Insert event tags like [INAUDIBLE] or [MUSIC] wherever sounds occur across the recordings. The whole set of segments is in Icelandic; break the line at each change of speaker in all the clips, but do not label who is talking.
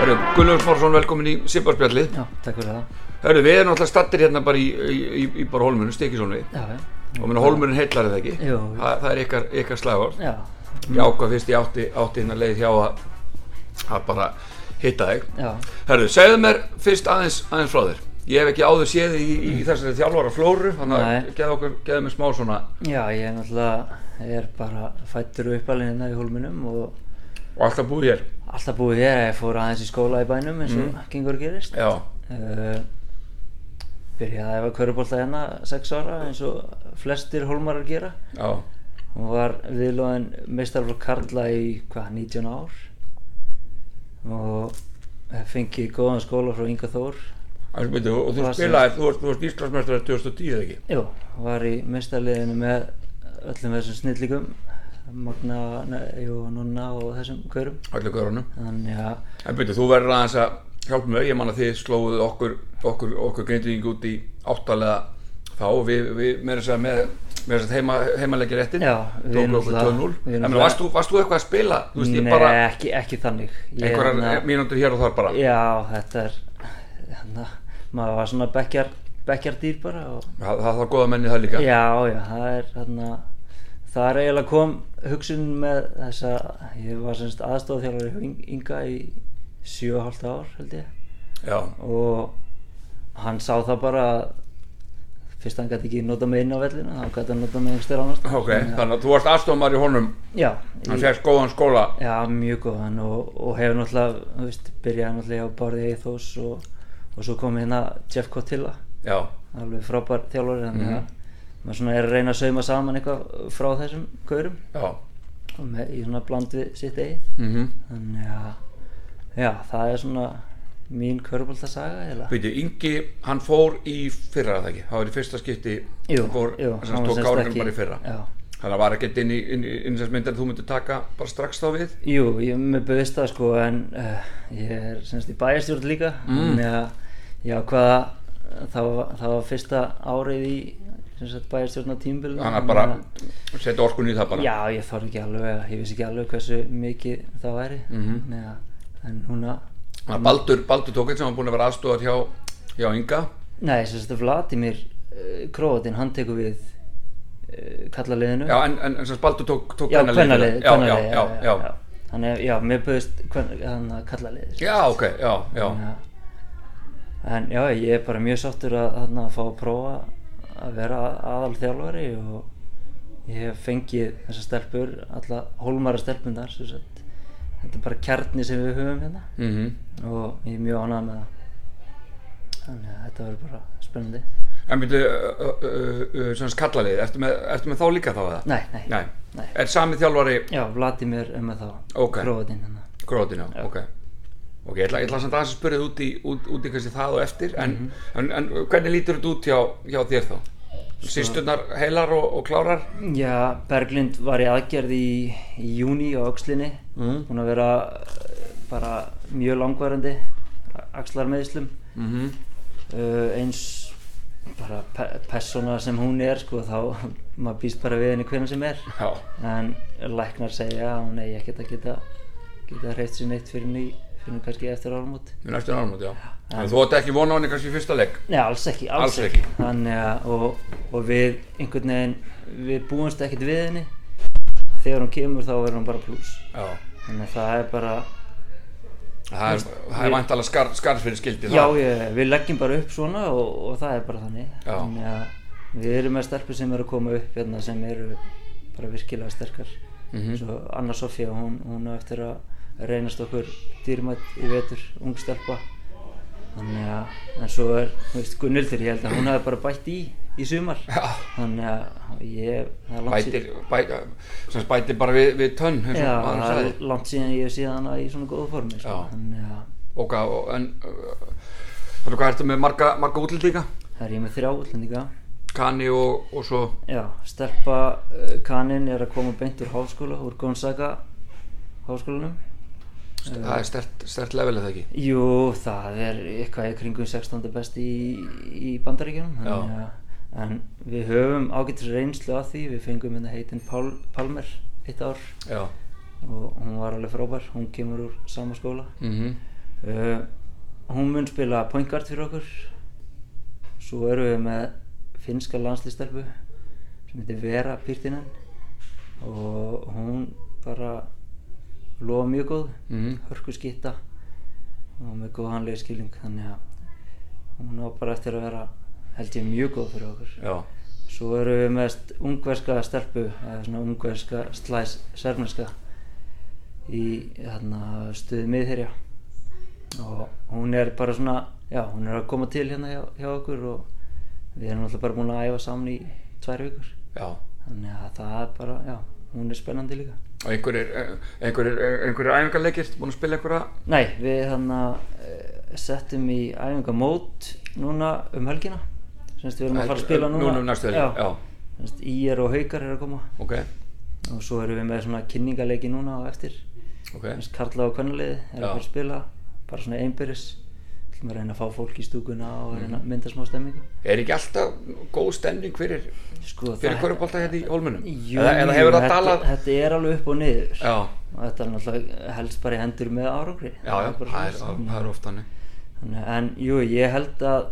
Herru, Gunnlaugur Smársson, velkomin í Sipparspjallið.
Já, takk fyrir það.
Herru, við erum náttúrulega stattir hérna bara í, í, í, í bara holmunum, stekisólunni.
Já, já.
Og minna holmunum heillar það ekki.
Jú.
Þa, það er ykkar, ykkar slagvart.
Já,
Ég ákvað fyrst ég átti, átti hérna leið hjá að, að bara hitta þig.
já.
Herru, segðu mér fyrst aðeins, aðeins frá þér. Ég hef ekki áður séð þig í, í þessari þjálfara flóru, þannig að
Nei.
geðu okkur, geðu mér smá svona.
Já, ég er náttúrulega, ég er bara fættur og uppalinn hérna í hólminum og
Og alltaf búið hér.
alltaf búið hér að ég fór aðeins í skóla í bænum eins og gengur og gerist.
Já.
Uh, byrjaði að hefa körubólta hérna sex ára eins og flestir hólmarar gera.
Já.
Hún var viðlóðin meistarflokk Karla í, hvað, 19 ár og fengið góðan skóla frá Inga Þór
Ætli, byrju, og þú
Það sem-
spilaði, þú varst, þú varst Íslandsmestrar 2010 eða ekki?
Jú, var í mestarliðinu með öllum þessum snillíkum Magna, ne- jú, Nunna og þessum gaurum
Allir görunum.
Þannig að,
En byrju, þú verður aðeins að hjálpa mig, ég man að þið slóðuð okkur, okkur, okkur grindvíking út í áttalega þá og við, við meira að segja með, meira að segja heima, heimalegja réttin,
Já, við
tókum okkur
náttúrulega-
2-0.
við
En
náttúrulega-
varst þú, varst þú eitthvað að spila, þú veist, ég
nei,
bara
ekki, ekki þannig Ég hérna-
einhverjar mínútur hér og þar bara.
Já, þetta er, hérna, maður var svona bekkjar, bekkjardýr bara og,
Það, það þarf góða menni það líka.
Já, já, það er, hérna, það er eiginlega kom hugsun með þessa, ég var semst aðstofþjálfari Inga í 7,5 ár held ég
Já,
og hann sá það bara að fyrst hann gæti ekki nota mig inn á vellinu þá gæti hann nota mig einhverstið annars staðar.
ok, þannig að þú varst aðstofmar í honum,
já,
hann
ég,
fegst góðan skóla.
já, mjög góðan og, og hefur náttúrulega, þú veist, byrjaði náttúrulega á Bárði Eithós og, og svo kom hérna Jeff Cotilla
Já,
alveg frábær þjálfari þannig
Mhm.
að maður svona er að reyna að sauma saman eitthvað frá þessum gaurum
já.
og með, í svona bland við sitt eigið
Mm -hmm.
þannig að, já, það er svona mín körbóltasaga eða
Býtu, Ingi, hann fór í fyrra það ekki, það var í fyrsta skipti hann fór, hann
var
tók
semst
árunum
ekki-
bara í fyrra
já.
þannig að var ekkert inn í, inn, í- inn í þess myndar þú myndir taka bara strax þá við
Jú, ég mér bauðist það sko en uh, ég er semst í bæjarstjórn líka
Mm.
þannig að já, hvaða það var, það var fyrsta árið í semst bæjarstjórna tímbilinu
þannig að bara setja orkun í það bara
Já, ég þorði ekki alveg, að- ég vissi ekki alveg hversu mikið það væri
Mhm.
Þannig að- en hún að
þannig að Baldur, Baldur tók eitt sem var búin að vera aðstofað hjá, hjá Inga
Nei, semst að Vladimir uh, Króatinn, hann tekur við uh, kallaliðinu
já, en, en, en sem sagt Baldur tók, tók
já,
kvennaliðið.
kvennalið,
já, já,
kvennalið
já, já.
Þannig að, já, mér bauðist hann að kallaliðið sko.
já, ok, já, já
Já. En já, ég er bara mjög sáttur að, þarna, að fá að prófa að vera aðal þjálfari og ég hef fengið þessar stelpur, alla hólmara stelpunar, sem sagt. Þetta er bara kjarni sem við höfum hérna
mm
og ég er mjög ánægð með það. Þannig að þetta verður bara spennandi.
en býtu, uh, uh, uh, sem sagt kallalið ertu með, ertu með þá líka þá eða?
Nei, nei.
Nei.
Nei.
er sami þjálfari
Já, Vladimir er með þá.
Ok.
Króatinn hérna.
Kroatinn, já, ok Ok, ég ætla, ég ætla samt aðeins að spyrja þú út í, út, út í kannski það og eftir en,
Mhm.
en, en hvernig lítur þetta út hjá, hjá þér þá? Sýsturnar heilar og, og klárar?
Já, Berglind var í aðgerð í, í júni á öxlinni mm. búin að vera eh, bara mjög langvarandi axlar meðslum
Mm
Mhm.
-hmm.
uh, eins bara pe persóna sem hún er sko, þá [LAUGHS] maður býst bara við henni hvernig sem er
Já,
en læknar segja að hún eigi ekkert að geta geta hreift sér neitt fyrir henni fyrir henni kannski eftir áramót
við næstum árum út, já En þú átti ekki vona á henni kannski í fyrsta leik
Nei, alls ekki, alls,
Alls
ekki.
ekki.
Þannig að, og, og við einhvern veginn, við búumst ekkert við henni þegar hún kemur þá verður hún bara pluss
Já
Þannig að það er bara,
Það er, það er
við-
vantalega skar, skarð fyrir skildi
já
það.
ég, við leggjum bara upp svona og, og það er bara þannig.
Já.
Þannig að við erum með stelpur sem eru að koma upp hérna sem eru bara virkilega sterkar.
Mhm.
Svo Anna Sofía, hún, hún á eftir að reynast okkur dýrmætt í vetur, ung stelpa. Þannig að, en svo er, þú veist, Gunnildur, ég held að hún hafi bara bætt í í sumar.
Já.
Þannig að ég, það er langt síðan-
Bætir, bæ, sem sagt bætir bara við, við tönn eins og
Já,
maður
það
sagði.
er langt síðan ég hef séð hana í svona góðu formi. Sko.
Já.
Þannig að,
Og hvað, og- en uh, Þannig hvað ertu með marga, marga útlendinga?
Það er ég með þrjá útlendinga.
Kani og, og svo
Já, Stelpa uh, Kanin er að koma beint úr háskóla, úr Gonzaga háskólanum. Eh.
Það er stert, stert level eða ekki?
Jú, það er eitthvað í kringum 16. besti í, í bandaríkjunum. þannig
Já.
að- En við höfum ágættis reynslu af því, við fengum hérna heitin Pál, Palmer eitt ár
Já
og hún var alveg frábær, hún kemur úr sama skóla.
mm
Uh, hún mun spila point guard fyrir okkur svo erum við með finska landslýstelpu sem heitir Vera Pirtinen og hún bara lofa mjög góð
Mhm.
hörku skitta og með góðanlega skilning þannig að hún á bara eftir að vera held ég mjög góð fyrir okkur
já,
Svo erum við með st- ungverska stelpu, eða svona ungverska slæs serfneska í hérna, stuði miðherja og hún er bara svona, já, hún er að koma til hérna hjá, hjá okkur og við erum alltaf bara búin að æfa saman í tvær vikur
já
þannig að það er bara, já, hún er spennandi líka
og einhverjir, eh, einhverjir, eh, einhverjir æfingarleikir búin að spila einhverja
Nei, við hérna eh, settum í æfingamót núna um helgina semst við erum að fara að spila núna
Núna um næstu helgi, já.
Semst, Íer og Haukar eru að koma
ok,
og svo erum við með svona kynningaleiki núna á eftir okay.
ok,
Karla og kvennaliði er
Já.
að fara að spila bara svona einbyrðis ætlum að reyna að fá fólk í stúkuna
Mhm.
og reyna að mynda smá stemmingu
er ekki alltaf góð stemning fyrir
sko,
fyrir
það-
korfbólta hérna í hólmunum
Jú,
eða, eða hefur það
þetta,
talað
þetta er alveg upp og niður
já,
og þetta er náttúrulega helst bara í hendur með árangri
já, já,
bara
það er,
svona.
það er oft hannig
Þannig, að- en jú, ég held að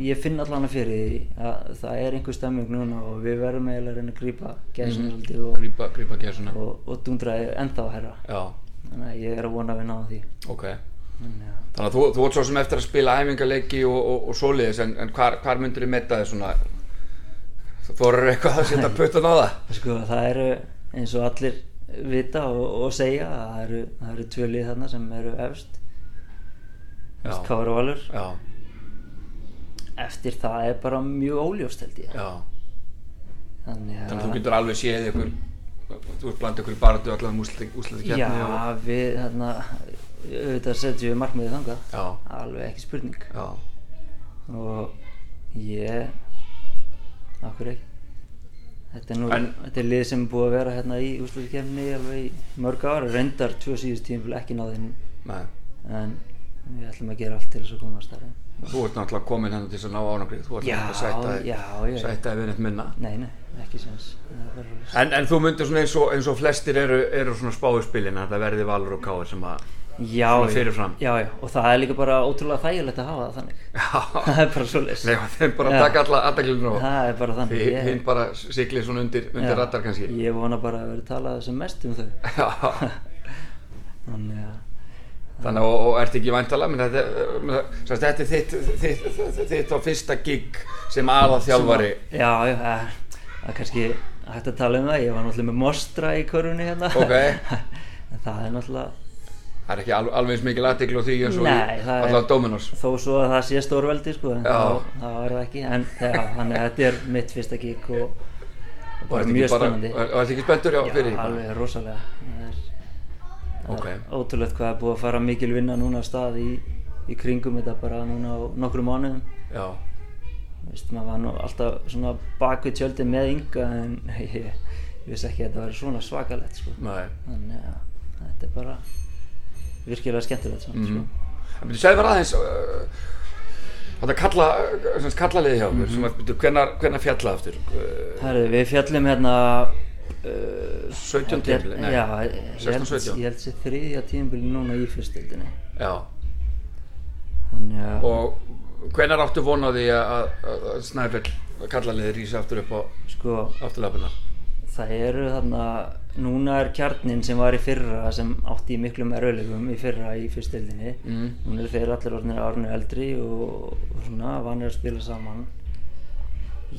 ég finn allan að fyrir því að það er einhver stemming núna og við verðum eiginlega að reyna að grípa gæsina svolítið og,
grípa, grípa gæsuna
og, og dundraði ennþá að herra
já,
Þannig að ég er að vona að við náðum því.
ok
Þannig að
þannig að þú, þú ert svo sem eftir að spila æfingarleiki og, og, og svoleiðis en, en hvar, hvar myndur þið metta þið svona þú eru eitthvað að setja puttan á það
sko, það eru eins og allir vita og, og segja að það eru, það eru tvö lið þarna sem eru efst.
Já.
Efst Kára og Valur.
já,
Eftir það er bara mjög óljóst held ég.
já
Þannig að...
þannig að þú getur alveg séð ykkur þú ert bland ykkur barðu allan hérna. úslið
Já,
keppni og
við þarna, auðvitað setjum við markmiðið þangað.
Já.
Alveg ekki spurning.
já,
Og ég... Akkur ekki. Þetta er nú,
En-
þetta er lið sem er búið að vera hérna í úrslutikefni alveg í mörg ára, reyndar tvö síðust tímafél ekki náðinn
nei
en við ætlum að gera allt til þess að komast þar inn.
Þú ert náttúrulega komin hennar til þess að ná árangrið, þú ert
Já,
náttúrulega
já, já.
sættaði sætta við neitt minna.
Nei, nei, ekki séns. Það er bara svoleiðis.
En, en þú myndir svona eins og, eins og flestir eru, eru svona spáðu spilin að það verði Valur og Káir sem að...
Já,
Svona
já.
fyrirfram.
Já, já, og það er líka bara ótrúlega þægilegt að hafa það þannig.
Já,
[LAUGHS] það er bara
[LAUGHS]
svolítið.
nema þeim bara
Já.
taka alla aðdaglunum á.
Það er bara þannig.
Þi- Hinn bara sigli svona undir, undir rattar kannski.
[LAUGHS] Ég vona bara að vera talað sem mest um þau.
Já,
Þannig að,
þannig að, og, og ert ekki væntala, menn þetta, menn það- sem sagt, þetta er þitt, þitt, þitt, þitt á fyrsta gig sem aða þjálfari.
já, já, það er- það er kannski hægt að tala um það. Ég var náttúrulega með mostra í körfunni hérna.
Ok.
[LAUGHS] En það er náttúrulega,
Það er ekki al, alveg eins mikil aðdeglu á því eins og
Nei, það er-
allavega Dominos.
þó svo að það sé stórveldi sko, en
Já.
þá, þá er það ekki en já, þannig að þetta er mitt fyrsta gig og, og
Og
bara
ertu ekki
mjög spennandi
Og og ertu ekki spenntur já,
já,
fyrir því?
alveg rosalega það er, það
Ok.
er ótrúlegt hvað er búið að fara mikil vinna núna af stað í, í kringum þetta bara núna á nokkrum mánuðum
Já.
Vist, maður var nú alltaf svona bak við tjöldin með ynga en [LAUGHS] ég, ég vissi ekki að þetta var svona svakalegt sko.
Nei.
þannig að þetta er bara virkilega skemmtilegt samt,
Mhm.
sko.
Það byrju, segðu mér aðeins uh, Þetta kalla, uh, sem sagt, kallaliði hjá okkur
Mhm.
sem að byrju, hvenar, hvenar fjalla aftur uh,
Herðu, við fjallum hérna uh,
17
þetta er-
tímabili, nei,
Já, ég
16,
held-
17.
ég held sér þriðja tímbili núna í fyrstildinni
Já
Þannig að
Og hvenar áttu vonaði að, að, að Snæfell kallaliði rísi aftur upp á
sko,
afturlapuna
það eru þarna núna er kjarnin sem var í fyrra sem átti í miklum erfiðlegum í fyrra í fyrstildinni
Mm.
Núna eru þeir allir orðinir árnu eldri og, og svona vanir að spila saman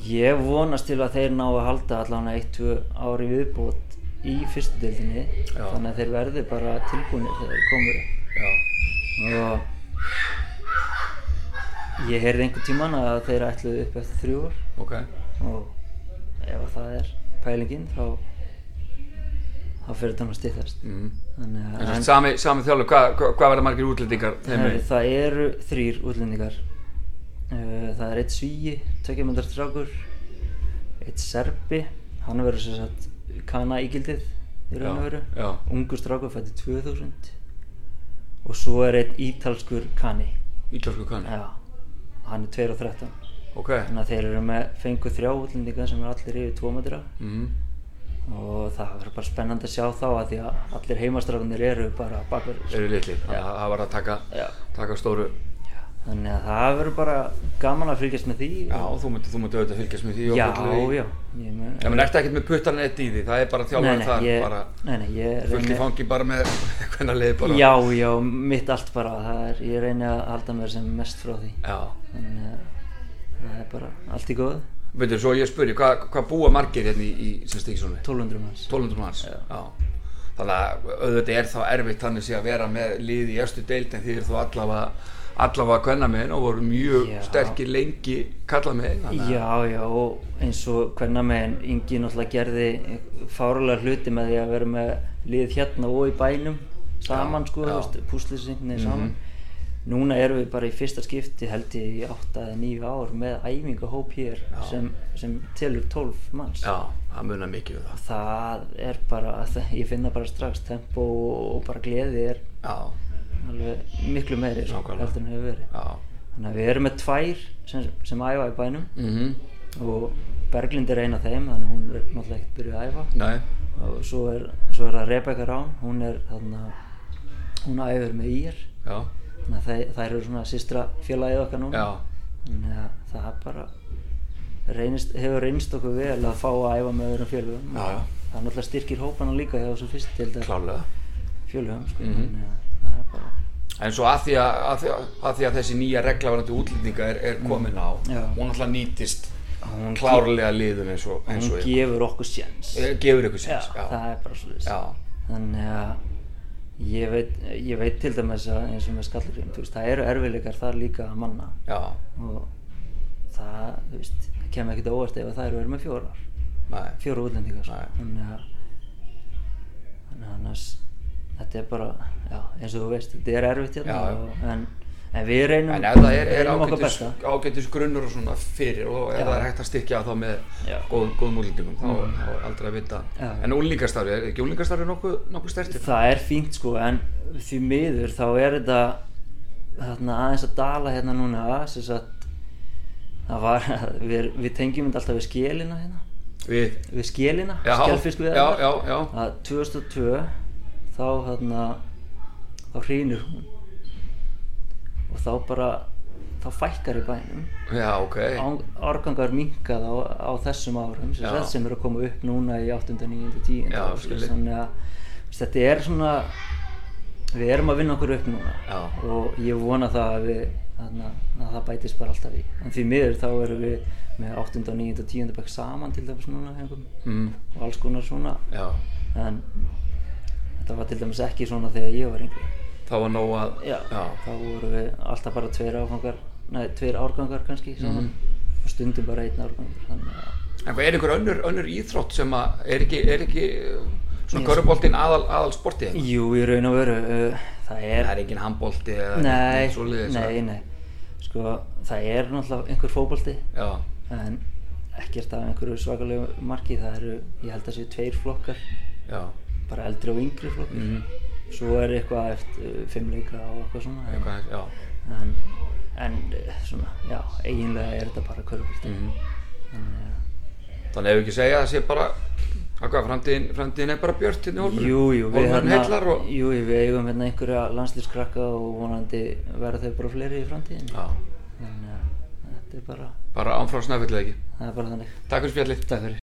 Ég vonast til að þeir ná að halda allavega eitt, tvö ári viðbót í fyrstudeldinni
Já.
þannig að þeir verði bara tilbúinir þegar þeir komur upp
Já
og ég heyrði einhvern tíman að þeir ætluðu upp eftir þrjú ár
Ok
og ef að það er pælingin þá þá fyrir þetta nú að stýttast
mm.
þannig
En
að
sem sagt, sami, sami þjálfur, hvað hva, hva verða margir útlendingar þeim
Herri,
megin?
það eru þrýr útlendingar Uh, það er eitt svíi, tveikjumöndar strákur eitt serbi hann verður sem sagt kana ígildið í raun
Já,
og veru
já.
ungur strákur fætti 2000 og svo er eitt ítalskur kani
Ítlásku kanni
Já, hann er 2 og 13
Ok
Þannig að þeir eru með fengu þrjá útlendinga sem eru allir yfir 2 metra
mm.
og það verður bara spennandi að sjá þá að því að allir heimastrákunir eru bara bakur
eru litlir,
Já.
þannig að það var að taka,
Já.
taka stóru
þannig að það verður bara gaman að fylgjast með því
Já, þú myndi, þú myndi auðvitað fylgjast með því og
já,
fylgja því.
já ég mun,
Já, menn ertu ekkert með puttan eitt í því, það er bara
nei,
þjálfarið
nei,
þar,
ég,
bara
nei, nei, ég
fullt í
reyni-
fangi bara með [LAUGHS] hvernig leiði bara.
já, já, mitt allt bara það er, ég reyni að halda mér sem mest frá því
Já.
þannig að það er bara allt í góð
Veitur, svo ég spurði, hvað hva búa margir hérna í, í sem stíkisónu?
1200 manns
1200 manns, já. Þannig að auðvitað er þá erfitt þannig sé að vera með lið í östu deild en því er þú allavega allavega kvenna með og voru mjög
Já.
sterkir lengi kalla með
Já, já, og eins og hvernig meðan Ingi náttúrulega gerði fárulega hluti með því að vera með lið hérna og í bænum saman,
Já, já.
sko,
Mhm.
þú veist, púslisinni saman. Núna erum við bara í fyrsta skipti held ég í 8 eða 9 ár með æfingahóp hér sem, sem telur 12 manns.
Já, það munar mikið við það.
Það er bara, það, ég finna bara strax tempo og, og bara gleði er
Já,
alveg miklu meiri, sko,
Nákvæmlega.
heldur en hefur verið.
já.
Þannig að við erum með tvær sem, sem æfa í bænum
Mm
og Berglind er ein af þeim þannig að hún er náttúrulega ekkert byrjuð að æfa
Nei,
og svo er, svo er það Rebecca Rán hún er þarna hún æfur með ír
já,
þannig að þær, þær eru svona sýstra félagið okkar núna
já.
þannig að það er bara reynist, hefur reynst okkur vel að fá að æfa með öðrum félagum
Já, já.
það náttúrulega styrkir hópana líka hjá þessum fyrst til þetta
Klálega.
félagum sko.
Mhm.
þannig að það er bara
En svo að því að, að, því að, að, því að þessi nýja reglaverandi útlendinga er, er komin á,
Mm. Já.
hún alltaf nýtist
Hún ge-
klárlega liðum eins og, eins
hún
og
gefur okkur sjans
Eh, gefur ykkur séns.
það
Já,
er bara svo
já,
þannig að ég veit, ég veit til dæmis að eins og með skallurinn, þú veist, það eru erfileikar þar líka að manna
já,
og það, þú veist, kemur ekkert á óvart ef að það eru verið með fjórar,
nei,
fjóra útlendingar sko.
Nei.
þannig að þannig að annars þetta er bara, já, eins og þú veist þetta er erfitt hérna
Já, já.
og, en, en við reynum,
En ef það er, er
reynum Mm. okkar
ágætis,
besta
ágætis grunnur og svona fyrir og ef
Já.
það er hægt að styrkja þá með
Já. Mm.
góð, góðum útlendingum, þá, þá er aldrei að vita.
Já.
En úlingastarfi, er ekki úlingastarfi nokkuð, nokkuð stertir?
það er fínt sko en því miður þá er þetta þarna, aðeins að dala hérna núna sem sagt það var, [LAUGHS] við, við tengjum þetta alltaf við skélina hérna
Við,
við skélina,
já,
skjálfisk við
já, já, já,
að 2002 þá hérna þá hrýnur hún og þá bara þá fækkar í bænum
já, ok,
Á- árgangar minkað á, á þessum árum sem,
Já.
sagt, sem eru að koma upp núna í 8. 9. 10.
Já,
ár,
skilji.
þannig að þú veist, þetta er svona við erum að vinna okkur upp núna
Já.
og ég vona það að, við, þarna, að það bætist bara alltaf í en því miður þá erum við með 8. 9. 10. bekk saman til dæmis núna hengum,
mm,
og alls konar svona
já,
en þetta var til dæmis ekki svona þegar ég var yngri
það var nóg að,
Já,
já.
þá vorum við alltaf bara tveir áfangar, nei, tveir árgangar kannski saman og stundum bara einn árgangur, þannig að
En hvað er einhver önnur, önnur íþrótt sem að er ekki, er ekki uh, svona köruboltinn aðal, aðal sportið?
Jú, í raun og veru, uh, það
Það
er,
er engin handbolti eða
nei,
svo liðis.
nei, nei, sko, það er náttúrulega einhver fótbolti
Já,
en ekkert af einhverju svakalegu marki, það eru, ég held að séu tveir flokkar,
já.
bara eldri og yngri flokkar,
Mm,
svo er eitthvað eftir fimmleika og eitthvað svona, en-
eitthvað, já.
en, en eh, svona, já, eiginlega er þetta bara körfbólti,
Mm.
þannig að
Þannig ef við ekki segja að það sé bara, að hvað, framtíðin, framtíðin er bara björt hérna í hólmunum?
Jú, jú, við,
Hólmunum
hérna,
heillar og...
jú, jú, við eigum hérna einhverja landslýskrakka og vonandi verða þau bara fleiri í framtíðinni.
Já,
Þannig að þetta er bara,
bara ánfrá snæfellega ekki.
það er bara þannig.
Takk fyrir spjallið.
Takk fyrir.